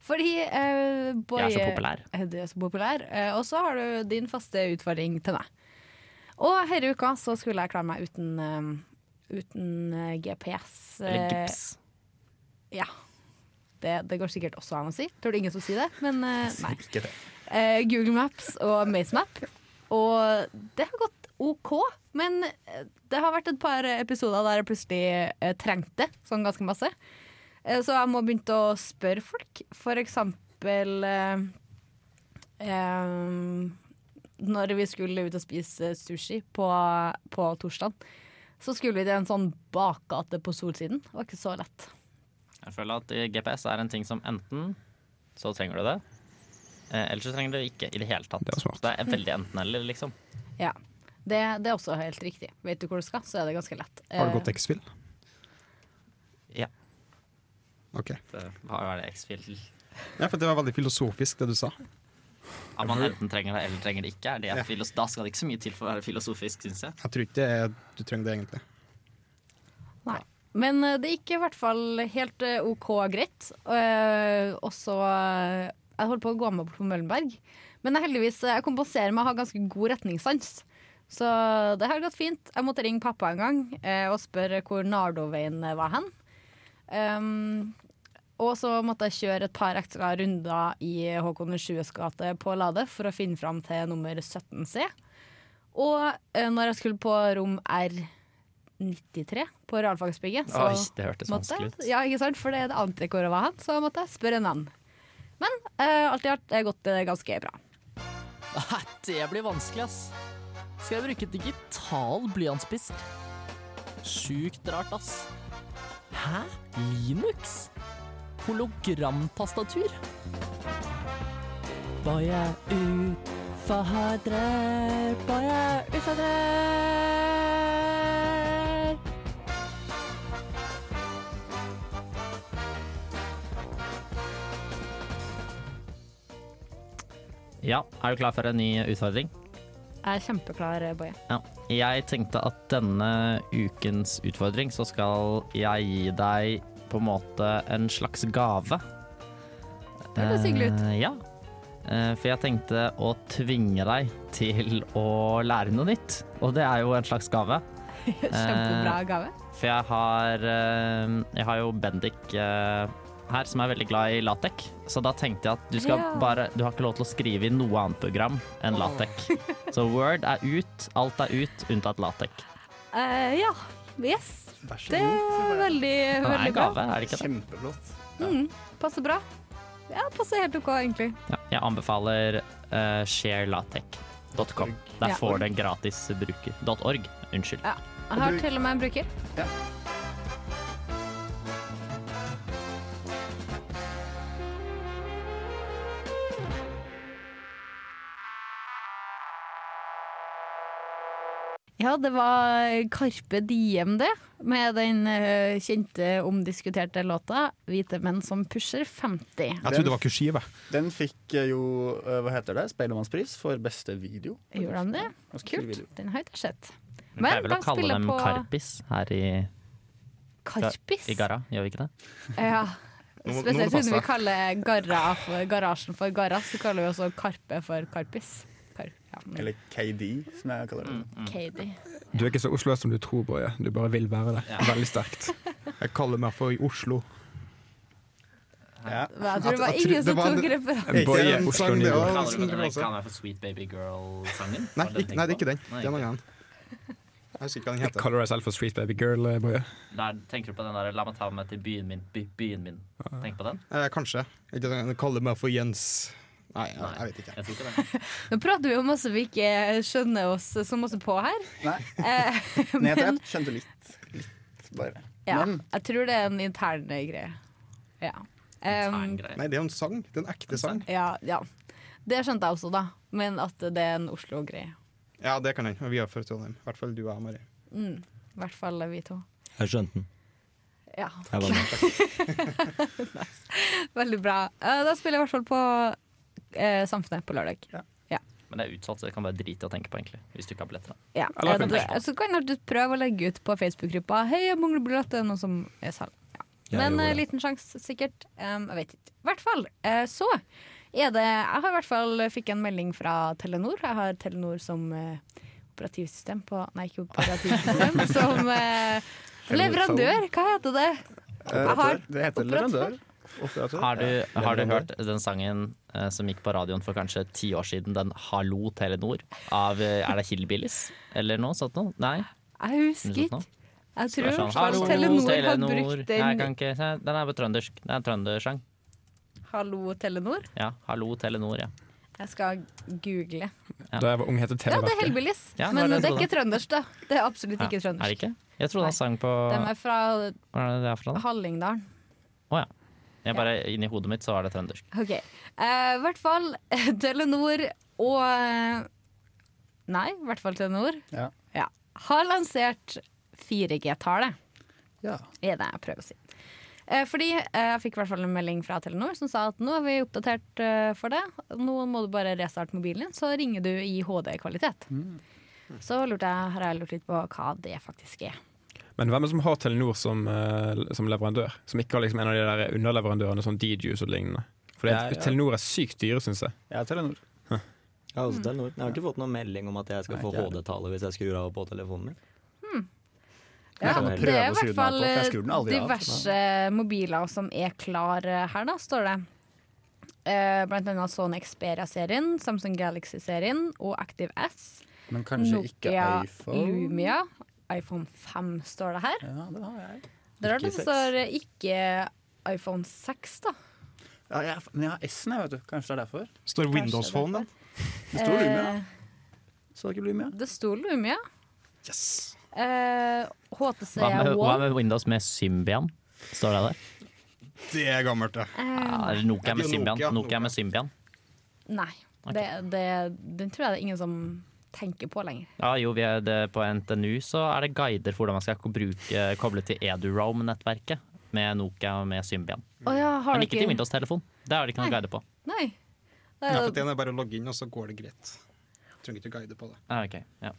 Speaker 1: Fordi eh, Boje
Speaker 6: Jeg er så populær.
Speaker 1: Eh, Du er så populær. Eh, og så har du din faste utfordring til meg. Og her i uka så skulle jeg klare meg uten, eh, uten eh, GPS.
Speaker 6: Eller
Speaker 1: eh,
Speaker 6: gips.
Speaker 1: Ja. Det, det går sikkert også an å si. Tror det er ingen som sier det, men eh, nei.
Speaker 5: Ikke det.
Speaker 1: Eh, Google Maps og MaceMap. Og det har gått OK, men eh, det har vært et par episoder der jeg plutselig eh, trengte sånn ganske masse. Eh, så jeg må begynne å spørre folk. For eksempel eh, eh, Når vi skulle ut og spise sushi på, på torsdag, så skulle vi til en sånn bakgate på solsiden. Det var ikke så lett.
Speaker 6: Jeg føler at eh, GPS er en ting som enten så trenger du det, eh, eller så trenger du det ikke i det hele tatt.
Speaker 4: Det var smart.
Speaker 6: Så det er veldig enten-eller, liksom.
Speaker 1: Ja. Det, det er også helt riktig. Vet du hvor du skal, så er det ganske lett.
Speaker 2: Har du
Speaker 1: Eh,
Speaker 2: gått X-Fill?
Speaker 6: Ja.
Speaker 2: Ok.
Speaker 6: Det- Hva er det X-Fill?
Speaker 2: Ja, for det var veldig filosofisk, det du sa.
Speaker 6: At man enten trenger det eller trenger det ikke. Er det filos- da skal det ikke så mye til for å være filosofisk, syns jeg.
Speaker 2: Jeg tror ikke det er- du trenger det egentlig.
Speaker 1: Nei. Men eh, det gikk i hvert fall helt eh, OK greit. Eh, Og så eh, Jeg holdt på å gå meg bort på Møllenberg. Men jeg heldigvis eh, jeg kompenserer med å ha ganske god retningssans. Så det har gått fint. Jeg måtte ringe pappa en gang eh, og spørre hvor Nardoveien eh, var hen. Ehm, og så måtte jeg kjøre et par ekstra runder i Håkon 7.s gate på Lade for å finne fram til nummer 17C. Og eh, når jeg skulle på rom R93 på realfagsbygget, så
Speaker 6: Oi, det hørtes
Speaker 1: måtte
Speaker 6: vanskelig
Speaker 1: jeg,
Speaker 6: ut.
Speaker 1: ja, ikke sant? For det er det ante hvor jeg var hen, så måtte jeg spørre en venn. Men eh, alt i alt har gått eh, ganske bra.
Speaker 8: Nei, det blir vanskelig, ass. Skal jeg bruke digital blyantspisser? Sjukt rart, ass. Hæ? Linux? Hologramtastatur? Bare utfordrer, bare utfordrer.
Speaker 6: Ja, er du klar for en ny utfordring?
Speaker 1: Jeg er kjempeklar, eh, Boje.
Speaker 6: Ja. Jeg tenkte at denne ukens utfordring så skal jeg gi deg på en måte en slags gave.
Speaker 1: Det høres hyggelig ut.
Speaker 6: Eh, ja. Eh, For jeg tenkte å tvinge deg til å lære noe nytt. Og det er jo en slags gave. Eh,
Speaker 1: (laughs) Kjempebra gave.
Speaker 6: For jeg har, eh, jeg har jo Bendik eh, her, som er veldig glad i latek. Så da tenkte jeg at du skal
Speaker 1: Ja.
Speaker 6: bare Du har ikke lov til å skrive i noe annet program enn latek. Så Word er ut, alt er ut, unntatt latek.
Speaker 1: Eh, ja. Yes.
Speaker 5: Vær så
Speaker 1: Det
Speaker 5: god.
Speaker 1: er veldig,
Speaker 6: Det er
Speaker 1: veldig
Speaker 6: en
Speaker 1: bra.
Speaker 6: gave, er det ikke det?
Speaker 5: Kjempeflott.
Speaker 1: Passer bra. Ja, passer helt OK, egentlig.
Speaker 6: Ja, jeg anbefaler uh, sharelatek.com. Der
Speaker 1: Ja.
Speaker 6: får du en gratis bruker. Dot .org, unnskyld.
Speaker 1: Ja. Jeg har til og med en bruker. Ja, det var Karpe Diem, det. Med den eh, kjente, omdiskuterte låta 'Hvite menn som pusher 50'.
Speaker 2: Jeg trodde det var kursiv. jeg.
Speaker 5: Den fikk eh, jo, eh, hva heter det, Spellemannspris for beste video.
Speaker 1: Gjorde de det?
Speaker 5: Ganske kul
Speaker 1: Kult.
Speaker 5: video.
Speaker 1: Den har jeg ikke sett.
Speaker 6: Vi pleier vel å
Speaker 1: de
Speaker 6: kalle
Speaker 1: spiller
Speaker 6: dem
Speaker 1: på
Speaker 6: karpis her i,
Speaker 1: Karpis?
Speaker 6: i Garra, gjør vi ikke det?
Speaker 1: Ja.
Speaker 2: Nå må- nå
Speaker 1: Spesielt
Speaker 2: må det passe
Speaker 1: siden vi
Speaker 2: deg.
Speaker 1: kaller garra for, garasjen for garra, så kaller vi også Karpe for Karpis. Kar ja, men-
Speaker 5: Eller KD, som jeg kaller det.
Speaker 6: Mm.
Speaker 1: Katie.
Speaker 4: Du er ikke så Oslo som du tror, Boje. Du bare vil være det. Veldig sterkt.
Speaker 2: Jeg kaller meg for Oslo.
Speaker 5: Ja.
Speaker 1: Men Jeg tror det var
Speaker 2: Jeg tror
Speaker 1: ingen som
Speaker 2: det var
Speaker 1: tok
Speaker 2: det-
Speaker 1: referansen.
Speaker 2: Boy,
Speaker 4: Boje, Oslo Nivå.
Speaker 2: Ja,
Speaker 6: Kaller
Speaker 2: sånn
Speaker 6: du
Speaker 2: det
Speaker 6: den
Speaker 2: var
Speaker 6: ikke
Speaker 2: også.
Speaker 6: han er for Sweet Baby Girl-sangen?
Speaker 2: Nei,
Speaker 6: Var det
Speaker 2: ikke,
Speaker 6: den
Speaker 2: nei, det
Speaker 6: du
Speaker 2: er ikke den.
Speaker 6: tenkte på?
Speaker 2: Det er en annen. Jeg husker ikke hva den
Speaker 4: Jeg
Speaker 2: heter.
Speaker 4: kaller deg selv for Street Baby Girl, eh, Boje.
Speaker 6: Der tenker du på den der 'La meg ta meg til byen min, by, byen min'. Tenk på den?
Speaker 2: Eh, kanskje. Ikke den den kaller meg for Jens. Nei, jeg, jeg vet ikke.
Speaker 6: Jeg tror ikke det.
Speaker 1: Nå prater vi om masse vi ikke skjønner oss så masse på her.
Speaker 5: Nei,
Speaker 1: Eh,
Speaker 5: men jeg, tror
Speaker 1: men
Speaker 5: jeg skjønte litt. Litt, bare.
Speaker 1: ja,
Speaker 5: Men
Speaker 1: jeg tror det er en intern greie. Ja. (laughs)
Speaker 6: Intern
Speaker 1: Um,
Speaker 6: greie.
Speaker 2: Nei, det er jo en sang. Det er en ekte sang.
Speaker 1: ja, ja. Det skjønte jeg også, da. Men at det er en Oslo-greie.
Speaker 2: Ja, det kan hende. Vi er fra Trondheim. I hvert fall du og jeg, Marie.
Speaker 1: I hvert fall vi to.
Speaker 3: Jeg skjønte den.
Speaker 1: Ja,
Speaker 3: Jeg var med.
Speaker 1: Veldig bra. Eh, da spiller jeg i hvert fall på eh, Samfunnet på lørdag.
Speaker 6: Men det er utsolgt, så det kan være drit i å tenke på, egentlig. Hvis du ikke har billetter.
Speaker 1: Ja.
Speaker 4: Eller
Speaker 1: Eh,
Speaker 4: kan
Speaker 1: det- Så kan du prøve å legge ut på Facebook-gruppa 'Hei, jeg mangler billett', det er noen som er salg. Ja.
Speaker 3: Jeg
Speaker 1: Men
Speaker 3: gjorde
Speaker 1: eh,
Speaker 3: det.
Speaker 1: liten sjanse, sikkert. Um, jeg vet ikke. I hvert fall eh, så er det Jeg har i hvert fall fikk en melding fra Telenor. Jeg har Telenor som eh, operativsystem på Nei, ikke (laughs) operativsystem, som eh, leverandør. Hva heter det? Jeg har
Speaker 5: operatør. Det heter leverandør. Operatør.
Speaker 6: Har du,
Speaker 5: Ja.
Speaker 6: har du
Speaker 5: Leverandør.
Speaker 6: hørt den sangen eh, som gikk på radioen for kanskje ti år siden? Den 'Hallo Telenor' av eh, Er det Hillbillies eller noe sånt noe? Nei?
Speaker 1: Jeg husker
Speaker 6: Noe sånt
Speaker 1: ikke.
Speaker 6: noe?
Speaker 1: Jeg
Speaker 6: Det er
Speaker 1: tror
Speaker 6: sånn,
Speaker 1: at Telenor har brukt
Speaker 6: Nei, jeg
Speaker 1: den.
Speaker 6: kan ikke, nei, den er på trøndersk. Det er en trøndersang.
Speaker 1: Hallo, Telenor.
Speaker 6: Ja. 'Hallo Telenor', ja.
Speaker 1: Jeg skal google.
Speaker 4: Da jeg var ung, het det
Speaker 1: Ja, det er
Speaker 4: Televerket.
Speaker 1: Hellbillies.
Speaker 6: Ja, det var
Speaker 1: men
Speaker 6: det jeg
Speaker 1: det er
Speaker 6: trodde.
Speaker 1: ikke trøndersk, da. Det er absolutt
Speaker 6: ja.
Speaker 1: ikke
Speaker 6: Er det
Speaker 1: trøndersk.
Speaker 6: ikke? Jeg trodde han
Speaker 1: Nei.
Speaker 6: sang på
Speaker 1: De
Speaker 6: Hvor
Speaker 1: er fra
Speaker 6: er det det er fra? da?
Speaker 1: Hallingdalen.
Speaker 6: Å ja. Jeg bare, Inni hodet mitt så var det trøndersk.
Speaker 1: OK. Eh, I hvert fall Telenor og eh, Nei, i hvert fall Telenor
Speaker 5: Ja.
Speaker 1: ja, har lansert 4G-tallet.
Speaker 5: Ja.
Speaker 1: er det jeg prøver å si. Eh, Eh, fordi eh, jeg fikk i hvert fall en melding fra Telenor som sa at nå er vi oppdatert eh, for det. Nå må du bare restarte mobilen din, så ringer du i HD-kvalitet. Så lurte jeg, har jeg lurt litt på hva det faktisk er.
Speaker 4: Men hvem er det som har Telenor som, eh, som leverandør? Som ikke har liksom en av de der underleverandørene som DJs og lignende? For det,
Speaker 3: Jeg-
Speaker 4: Telenor er sykt dyre, syns jeg.
Speaker 5: Jeg er Telenor.
Speaker 3: Jeg har også Telenor. Jeg har ikke fått noen melding om at jeg skal
Speaker 5: Nei,
Speaker 3: få
Speaker 5: ikke jeg
Speaker 3: HD-tale hvis jeg skrur av på telefonen min.
Speaker 1: Ja,
Speaker 3: kan jo
Speaker 1: det er i
Speaker 5: prøve å skru
Speaker 1: hvert
Speaker 5: den av
Speaker 1: fall
Speaker 5: på, for jeg skrur den aldri av. altså.
Speaker 1: diverse mobiler som er klar eh, her, da, står det. Eh, Blant annet Sony Xperia-serien, Samsung Galaxy-serien og Active S.
Speaker 5: Men kanskje ikke
Speaker 1: Nokia
Speaker 5: iPhone.
Speaker 1: Lumia. iPhone 5 står det her.
Speaker 5: Ja, det har jeg.
Speaker 1: Det er rart at
Speaker 3: Ikke
Speaker 1: det
Speaker 3: seks.
Speaker 1: står eh, ikke iPhone 6, da.
Speaker 5: Ja, jeg men jeg har S-en, jeg, vet du. Kanskje det er derfor.
Speaker 2: Står Windows Phone, da?
Speaker 5: Det står
Speaker 1: Eh.
Speaker 5: Lumia. Så det ikke Lumia?
Speaker 1: Det sto Lumia.
Speaker 2: Yes.
Speaker 1: Eh, HTC
Speaker 6: Hva med, hva
Speaker 1: One.
Speaker 6: med Windows med Symbian? Står det der?
Speaker 2: Det er gammelt, det.
Speaker 1: Eh.
Speaker 6: Ja, eller Nokia med
Speaker 2: Det er jo Nokia,
Speaker 6: Symbian. Nokia
Speaker 2: Nokia.
Speaker 6: med Symbian.
Speaker 1: Nei. Det, det, den tror jeg det er ingen som tenker på lenger.
Speaker 6: Ja, jo, vi er det, på NTNU så er det guider for hvordan man skal ko- bruke, koble til EduRome-nettverket med Nokia og med Symbian.
Speaker 1: Å ja, har du
Speaker 6: Men ikke til Windows-telefon. Det har de ikke noen
Speaker 1: Nei.
Speaker 6: guide på.
Speaker 1: Nei. Det
Speaker 2: Ja,
Speaker 1: er,
Speaker 2: for
Speaker 1: jo-
Speaker 2: den er bare å logge inn, og så går det greit. Trenger ikke guide på det.
Speaker 6: Ah, ok, ja.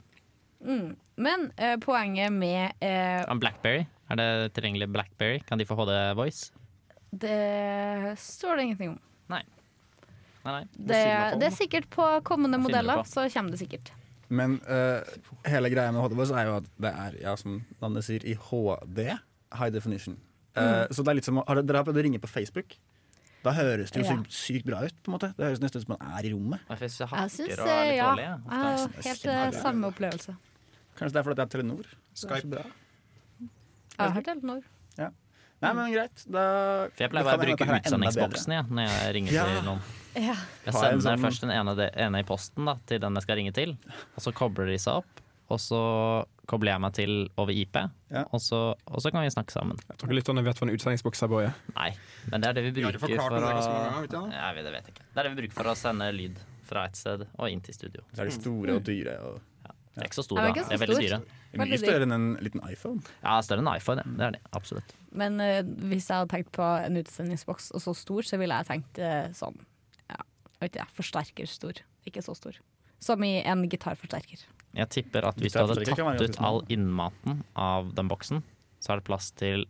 Speaker 1: men eh, poenget med eh,
Speaker 6: Ah, Blackberry? Er det tilgjengelig Blackberry? Kan de få HD Voice?
Speaker 1: Det står det ingenting om.
Speaker 6: Nei. Nei, nei.
Speaker 1: Det, det er sikkert på kommende
Speaker 6: Hva finner du
Speaker 1: modeller,
Speaker 6: på?
Speaker 1: så kommer det sikkert.
Speaker 5: Men eh, hele greia med HD Voice er jo at det er, ja, som navnet sier, i HD. High definition.
Speaker 1: Mm.
Speaker 5: Eh, Så det er litt som å- har dere- Dere har prøvd å ringe på Facebook. Da høres det jo
Speaker 1: Ja.
Speaker 5: sykt, sykt bra ut. på en måte Det høres nesten ut som man er i rommet.
Speaker 6: Jeg synes
Speaker 1: Jeg
Speaker 6: jeg hakker
Speaker 1: syns
Speaker 6: og er litt
Speaker 1: ja.
Speaker 6: dårlig.
Speaker 1: Jeg
Speaker 6: jeg.
Speaker 1: har
Speaker 6: Ofte.
Speaker 1: helt eh, samme opplevelse.
Speaker 5: Kanskje det er fordi det er Telenor.
Speaker 2: Skype.
Speaker 1: Jeg har hørt helt når.
Speaker 5: Nei, men greit. Da
Speaker 6: sånn. For
Speaker 5: det
Speaker 6: jeg
Speaker 5: kan
Speaker 6: pleier bare
Speaker 5: hende
Speaker 6: å
Speaker 5: at
Speaker 6: bruke
Speaker 5: det her er enda
Speaker 6: utsendingsboksen jeg, når jeg ringer
Speaker 5: Ja.
Speaker 6: til noen.
Speaker 1: Ja.
Speaker 6: Jeg
Speaker 5: Ta en
Speaker 6: sender
Speaker 5: sånn-
Speaker 6: først den ene, de- ene i posten da, til den jeg skal ringe til, og så kobler de seg opp. Og så kobler jeg meg til over IP,
Speaker 5: Ja.
Speaker 6: og, så, og så kan vi snakke sammen.
Speaker 4: Jeg tror ikke lytterne vet hva en utsendingsboks er, Boje.
Speaker 6: Nei, men det er det vi
Speaker 2: Vi har
Speaker 6: bruker
Speaker 2: jo forklart
Speaker 6: for
Speaker 2: det
Speaker 6: å
Speaker 2: ganske mange ganger, vet du det?
Speaker 6: Nei, vi- det vet jeg ikke. Det er det vi bruker for å sende lyd fra et sted og inn til studio.
Speaker 5: bedre. Det er de store og dyre. Og
Speaker 6: Det er ikke så stor,
Speaker 1: Ja,
Speaker 6: da.
Speaker 1: det er ikke
Speaker 6: Det er
Speaker 1: så
Speaker 6: veldig
Speaker 1: stor.
Speaker 6: dyre.
Speaker 5: mye
Speaker 1: Veldig dyrt.
Speaker 5: større enn en liten iPhone.
Speaker 6: Ja, større enn iPhone, ja. det er det. Absolutt.
Speaker 1: Men eh, hvis jeg hadde tenkt på en utsendingsboks og så stor, så ville jeg tenkt eh, sånn ja, vet ikke, jeg, Forsterker stor, ikke så stor. Som i en gitarforsterker.
Speaker 6: Jeg tipper at hvis du
Speaker 5: Gitar
Speaker 6: hadde
Speaker 5: forsterker kan
Speaker 6: tatt
Speaker 5: være
Speaker 6: ut
Speaker 5: ganske
Speaker 6: all innmaten av den boksen, så er det plass til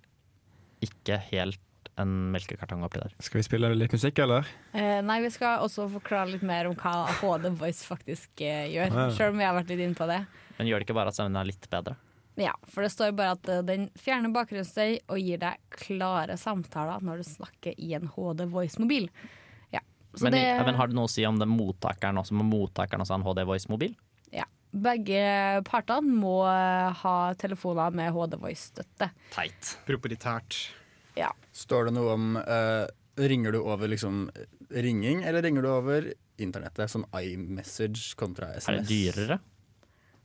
Speaker 6: ikke helt en melkekartong oppi der.
Speaker 4: Skal vi spille litt musikk, eller?
Speaker 1: Eh, nei, vi skal også forklare litt mer om hva HD Voice faktisk eh, gjør.
Speaker 4: Ja.
Speaker 1: Selv om jeg har vært litt inne på det.
Speaker 6: Men gjør det ikke bare at stemmen er litt bedre?
Speaker 1: Men ja, For det står bare at eh, den fjerner bakgrunnsstøy og gir deg klare samtaler når du snakker i en HD Voice-mobil. Ja, så
Speaker 6: Men,
Speaker 1: det,
Speaker 6: ja, men har det noe å si om den mottakeren også, om mottakeren også har en HD Voice-mobil?
Speaker 1: ja, Begge partene må eh, ha telefoner med HD Voice-støtte.
Speaker 6: Teit.
Speaker 2: Proprietært.
Speaker 1: Ja.
Speaker 5: Står det noe om eh, Ringer du over liksom ringing, eller ringer du over internettet? Som iMessage kontra SMS.
Speaker 6: Er det dyrere?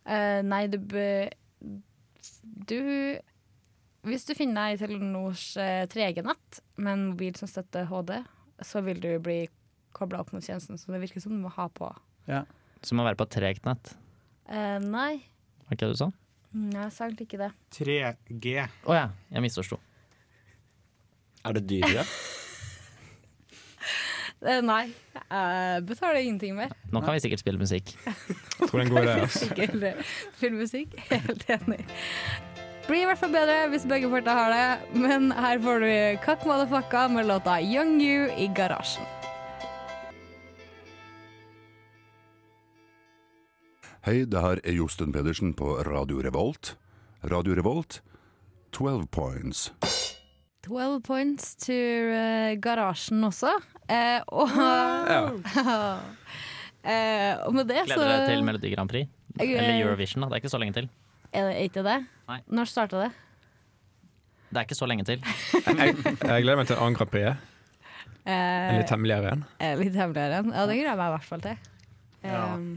Speaker 1: Eh, nei, du bø- Du Hvis du finner deg i Telenors eh, 3G-nett med en mobil som støtter HD, så vil du bli kobla opp mot tjenesten, så det virker som du må ha på.
Speaker 5: Ja.
Speaker 6: Så må det være på et tregt nett.
Speaker 1: Eh, nei,
Speaker 6: Var ikke det du sa?
Speaker 1: nei, jeg sa egentlig ikke det.
Speaker 2: 3G.
Speaker 6: Å ja, jeg misforsto.
Speaker 3: Er det dyrere?
Speaker 1: Eh, nei, jeg betaler ingenting mer.
Speaker 6: Nå kan vi sikkert spille musikk.
Speaker 4: Jeg tror det er en god idé.
Speaker 1: (laughs)
Speaker 4: ass.
Speaker 1: Sikkert filmmusikk. Helt enig. Blir i hvert fall bedre hvis begge parter har det, men her får du Kakk Motherfucka med låta Young You i garasjen.
Speaker 9: Hei, det her er Josten Pedersen på Radio Revolt. Radio Revolt, 12 points.
Speaker 1: 12 points to eh, garasjen også. Eh, og,
Speaker 6: (laughs)
Speaker 1: Eh, og med det så
Speaker 6: Gleder deg til Melodi Grand Prix.
Speaker 1: Jeg-
Speaker 6: Eller Eurovision, da. Det er ikke så lenge til.
Speaker 1: Er det ikke det?
Speaker 6: Nei.
Speaker 1: Når starta det?
Speaker 6: Det er ikke så lenge til.
Speaker 4: Jeg gleder meg til en annen Grand Prix. En
Speaker 1: Eh,
Speaker 4: litt hemmeligere en.
Speaker 1: eh, litt hemmeligere enn. Ja, det gruer jeg meg i hvert fall til.
Speaker 2: Ja.
Speaker 1: Um,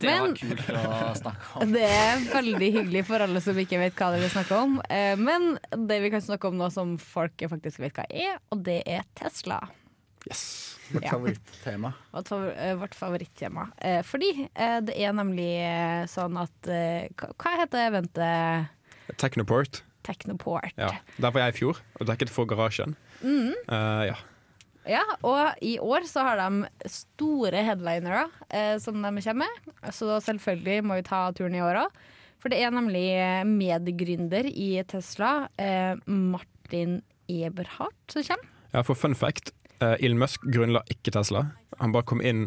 Speaker 6: Det var
Speaker 1: Men-
Speaker 6: kult å snakke om.
Speaker 1: Det er veldig hyggelig for alle som ikke vet hva det vil snakke om. Eh, Men det vi kan snakke om nå som folk faktisk vet hva er, og det er Tesla. Ja.
Speaker 5: Vårt (laughs) favorittema.
Speaker 1: Vårt, favor eh, vårt favorittema. Eh, Fordi eh, det er nemlig eh, sånn at eh, hva- Hva heter eventet?
Speaker 4: Technoport.
Speaker 1: Technoport.
Speaker 4: Ja. Der var jeg i fjor og dekket for garasjen.
Speaker 1: Mhm.
Speaker 4: Eh, ja.
Speaker 1: Ja, og i år så har de store headlinere eh, som de kommer med. Så selvfølgelig må vi ta turen i år òg. For det er nemlig medgründer i Tesla, eh, Martin Eberhardt, som kommer.
Speaker 4: ja, for fun fact. Uh, Elon Musk grunnla ikke Tesla. Han bare kom inn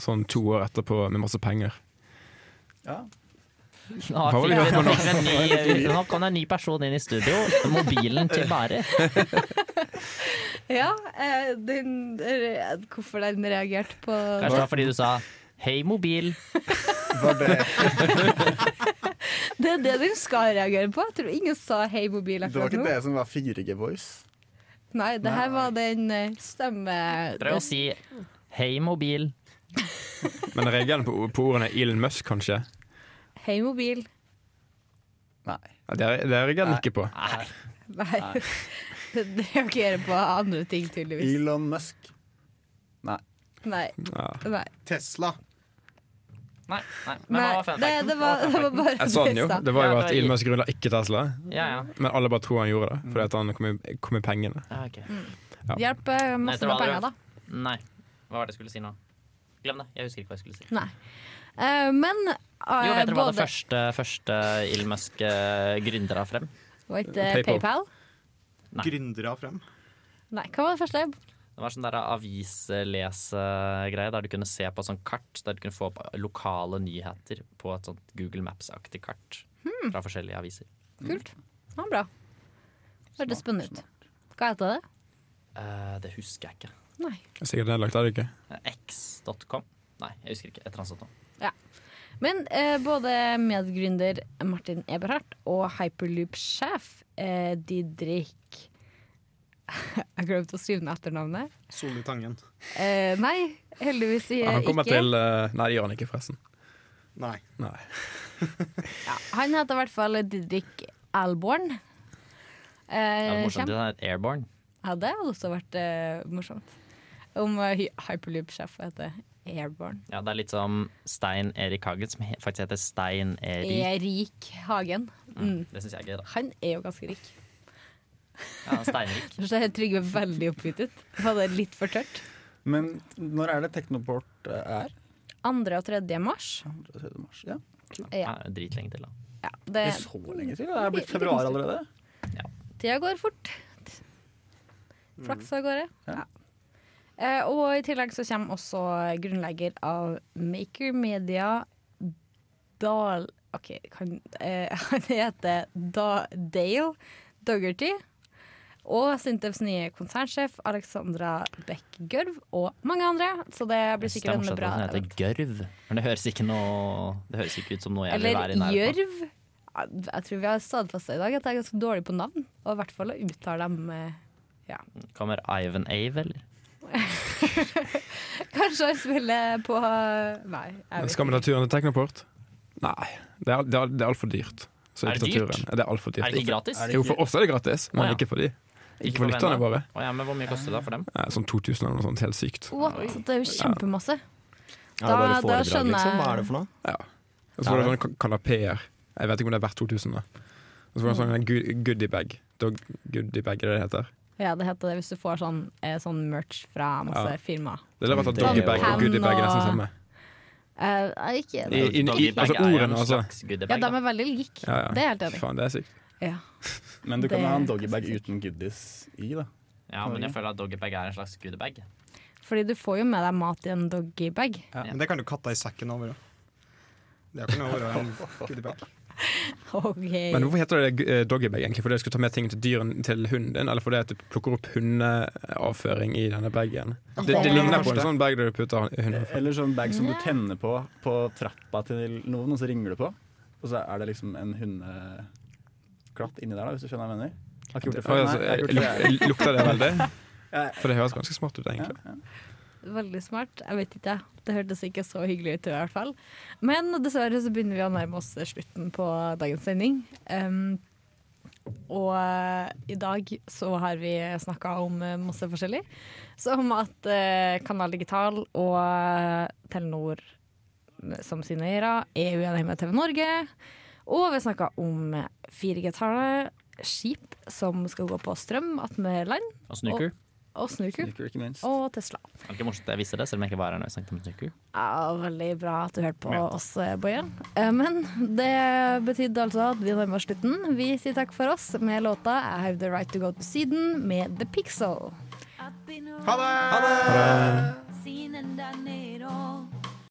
Speaker 4: sånn to år etterpå med masse penger.
Speaker 6: Nå
Speaker 4: Hva var det
Speaker 6: fikk vi-
Speaker 4: du hørte på
Speaker 6: nå fikk vi en ny- nå kom det en ny person inn i studio. Mobilen til Bare.
Speaker 1: Ja, eh, den, eh, hvorfor den reagerte på
Speaker 6: Kanskje det var fordi du sa 'hei, mobil'.
Speaker 1: Det er det den skal reagere på. Jeg tror ingen sa 'hei, mobil'
Speaker 5: Det var
Speaker 1: akkurat
Speaker 5: ikke
Speaker 1: nå.
Speaker 5: det som var 4G-voice.
Speaker 1: Nei, det her var den eh, stemme...
Speaker 6: Prøv å si 'hei, mobil'.
Speaker 4: Men jeg reagerer på, på ordene Elon Musk, kanskje.
Speaker 1: Hei, mobil.
Speaker 5: Nei.
Speaker 4: Ja, Det det reagerer han ikke på.
Speaker 1: Nei. (laughs) Det reagerer på andre ting, tydeligvis.
Speaker 5: Elon Musk.
Speaker 1: Nei.
Speaker 4: Ja.
Speaker 1: Nei.
Speaker 2: Tesla.
Speaker 6: Nei, nei,
Speaker 1: Nei,
Speaker 6: men hva var fun
Speaker 1: det,
Speaker 6: facten?
Speaker 1: det, var, det var bare
Speaker 4: Jeg sa den Sånn, jo.
Speaker 1: testa.
Speaker 4: Det Mm. var
Speaker 6: Ja,
Speaker 4: jo
Speaker 6: det
Speaker 4: at
Speaker 6: var-
Speaker 4: Elon Musk grunnla ikke Tesla,
Speaker 6: Ja, ja.
Speaker 4: men alle bare tror han gjorde det fordi at han kom i, kom i pengene.
Speaker 6: ja ok.
Speaker 1: Mm.
Speaker 4: Ja.
Speaker 1: Hjelp eh, masse
Speaker 6: Nei, det
Speaker 1: med
Speaker 6: var
Speaker 1: penger, da.
Speaker 6: det. Nei. Hva var det jeg skulle si nå? Glem det. Jeg husker ikke hva jeg skulle si.
Speaker 1: Nei. Eh, men eh,
Speaker 6: Jo, vet dere hva det
Speaker 1: både
Speaker 6: første, første Elon Musk eh, gründer av frem?
Speaker 1: Var ikke det
Speaker 4: PayPal.
Speaker 1: eh, PayPal?
Speaker 6: Nei.
Speaker 2: Gründere frem.
Speaker 1: Nei, hva var det første?
Speaker 6: Det var sånn der avislesegreie der du kunne se på et sånt kart. Der du kunne få opp lokale nyheter på et sånt Google Maps-aktig kart
Speaker 1: Hmm.
Speaker 6: fra forskjellige aviser.
Speaker 1: Kult. Ja, bra. Hørtes spennende ut. Hva heter det?
Speaker 6: Eh, det husker jeg ikke.
Speaker 1: Nei.
Speaker 4: Sikkert nedlagt, er det ikke?
Speaker 6: Eh, X.com? Nei, jeg husker ikke. Et eller annet sånt. noe.
Speaker 1: Men eh, både medgründer Martin Eberhardt og Hyperloop-sjef eh, Didrik (laughs) Jeg glemte å skrive ned etternavnet.
Speaker 2: Solli Tangen.
Speaker 1: Eh, nei, heldigvis i-
Speaker 4: Ja, han kommer
Speaker 1: ikke.
Speaker 4: til eh, Nei, det gjør han ikke, forresten.
Speaker 2: Nei.
Speaker 4: Nei.
Speaker 1: Ja, han heter i hvert fall Didrik Alborn.
Speaker 6: Ja, det
Speaker 1: Eh,
Speaker 6: er
Speaker 1: kjem-
Speaker 6: morsomt, det er Airborne.
Speaker 1: ja, det hadde også vært eh, morsomt. Om eh, hy- Hyperloop-sjef heter Airborn.
Speaker 6: Ja, det er litt som Stein Erik Hagen, som he faktisk heter Stein Erik.
Speaker 1: Erik Hagen. Mm.
Speaker 6: Det syns jeg er gøy, da.
Speaker 1: Han er jo ganske rik.
Speaker 6: Ja,
Speaker 1: (laughs)
Speaker 6: Steinrik.
Speaker 1: Så er Trygve veldig oppgitt ut. Var det litt for tørt?
Speaker 5: Men når er det Teknoport eh, er?
Speaker 1: 2. og 3. mars.
Speaker 5: 2. mars? Ja.
Speaker 6: Ja, dritlenge til, da.
Speaker 1: Ja, det,
Speaker 5: Det er så lenge til. Det er blitt februar allerede.
Speaker 1: tida går fort. Flaks av gårde. Ja. Eh, og i tillegg så kommer også grunnlegger av Maker Media Dahl OK, kan, eh, (laughs) han heter da, Dale Dougherty. Og Sintefs nye konsernsjef Alexandra Beck Gørv og mange andre. Så det blir
Speaker 6: sånn, Jeg synes det er
Speaker 1: sikkert en
Speaker 6: morsomt
Speaker 1: bra
Speaker 6: at den heter Gørv. Men det høres ikke noe Det høres ikke ut som noe jeg vil
Speaker 1: Eller
Speaker 6: være i nærheten av.
Speaker 1: gjørv. Ja, Jeg tror vi har stadfesta i dag at jeg er ganske dårlig på navn. Og i hvert fall å uttale dem eh,
Speaker 6: Kommer Ivan Ave, eller?
Speaker 1: Kanskje han spiller på Nei. Jeg vet.
Speaker 4: Skal vi ta turen til Teknoport? Nei, det er, det er, det er altfor dyrt. Så
Speaker 6: Er
Speaker 4: ikke
Speaker 6: det
Speaker 4: ta
Speaker 6: dyrt?
Speaker 4: turen. Ja, Det er altfor dyrt.
Speaker 6: Er det ikke gratis?
Speaker 4: Jo, for oss er det gratis, men
Speaker 6: Å, ja.
Speaker 4: ikke for de. Ikke for
Speaker 6: for
Speaker 4: lytterne
Speaker 6: venner?
Speaker 4: våre.
Speaker 6: Å ja, men Hvor mye koster det da for dem?
Speaker 4: Eh, Sånn 2000 eller noe sånt. Helt sykt.
Speaker 1: What? Det er jo kjempemasse.
Speaker 3: Er det
Speaker 1: Da- da
Speaker 3: bare foredrag,
Speaker 1: skjønner jeg-
Speaker 3: liksom? Hva er det for noe?
Speaker 4: Og så var det sånne ka- kanapeer. Jeg vet ikke om det er verdt 2000, da. Og så var det
Speaker 6: Mm.
Speaker 4: sånn gu- goodiebag. Dog goodiebag, er det det heter.
Speaker 1: Ja, det heter det hvis du får sånn, eh, sånn merch fra masse
Speaker 4: Ja.
Speaker 1: firmaer.
Speaker 4: Det er vært at
Speaker 3: Det er jo-
Speaker 4: doggybag og goodiebag er nesten
Speaker 1: Pen og-
Speaker 4: samme.
Speaker 1: Eh, jeg er ikke
Speaker 4: I, i, i,
Speaker 6: Doggybag
Speaker 4: altså
Speaker 6: er jo en
Speaker 4: ordene, altså.
Speaker 6: slags goodiebag,
Speaker 1: Ja, de
Speaker 6: da.
Speaker 1: er veldig like.
Speaker 4: Ja, ja.
Speaker 1: Det er jeg helt enig. i.
Speaker 4: Faen, det er sykt.
Speaker 1: Ja.
Speaker 5: Men du kan
Speaker 1: Det-
Speaker 5: ha en doggybag uten goodies i, da.
Speaker 6: Ja, men jeg føler at doggybag er en slags goodiebag.
Speaker 1: Fordi du får jo med deg mat i en doggybag. (laughs)
Speaker 2: Men det kan jo katta i sekken over. Det kan jo være en goodiebag.
Speaker 1: Okay.
Speaker 4: Men hvorfor heter det eh, doggybag egentlig? Fordi du skal ta med ting til dyren til hunden din? Eller fordi at du plukker opp hundeavføring i denne bagen? Det, det
Speaker 1: Det-
Speaker 4: ligner på en sånn bag der du putter hundeavføring.
Speaker 5: Eller sånn bag som du tenner på på trappa til noen, og så ringer du på. Og så er det liksom en hundeklatt inni der, da, hvis du skjønner hva jeg mener. Jeg Har ikke gjort det før.
Speaker 4: Altså,
Speaker 5: Nei, jeg har ikke gjort det.
Speaker 4: luk- Lukter det veldig?
Speaker 5: (laughs) Ja.
Speaker 4: For det høres ganske smart ut, egentlig.
Speaker 5: Ja, ja.
Speaker 1: Veldig smart. Jeg vet ikke, jeg. Det hørtes ikke så hyggelig ut i hvert fall. Men dessverre så begynner vi å nærme oss slutten på dagens sending. Um, og eh, i dag så har vi snakka om eh, masse forskjellig. Som at eh, Kanal Digital og eh, Telenor eh, som sine eiere er uenige med TV Norge. Og vi snakka om 4G-tallet, skip som skal gå på strøm attmed land,
Speaker 6: Og snooker.
Speaker 1: og snurku
Speaker 5: Snicker, ikke minst.
Speaker 1: og Tesla.
Speaker 6: Det var ikke morsomt at jeg visste det, selv om jeg ikke var her når vi snakket om snooker.
Speaker 1: Ja, veldig bra at du hørte på oss, Boje. Eh, Men det betydde altså at vi nærmer oss slutten. Vi sier takk for oss med låta 'I Have The Right To Go To Syden' med The Pixel.
Speaker 10: I've been around,
Speaker 2: Ha det!
Speaker 10: seen and done it.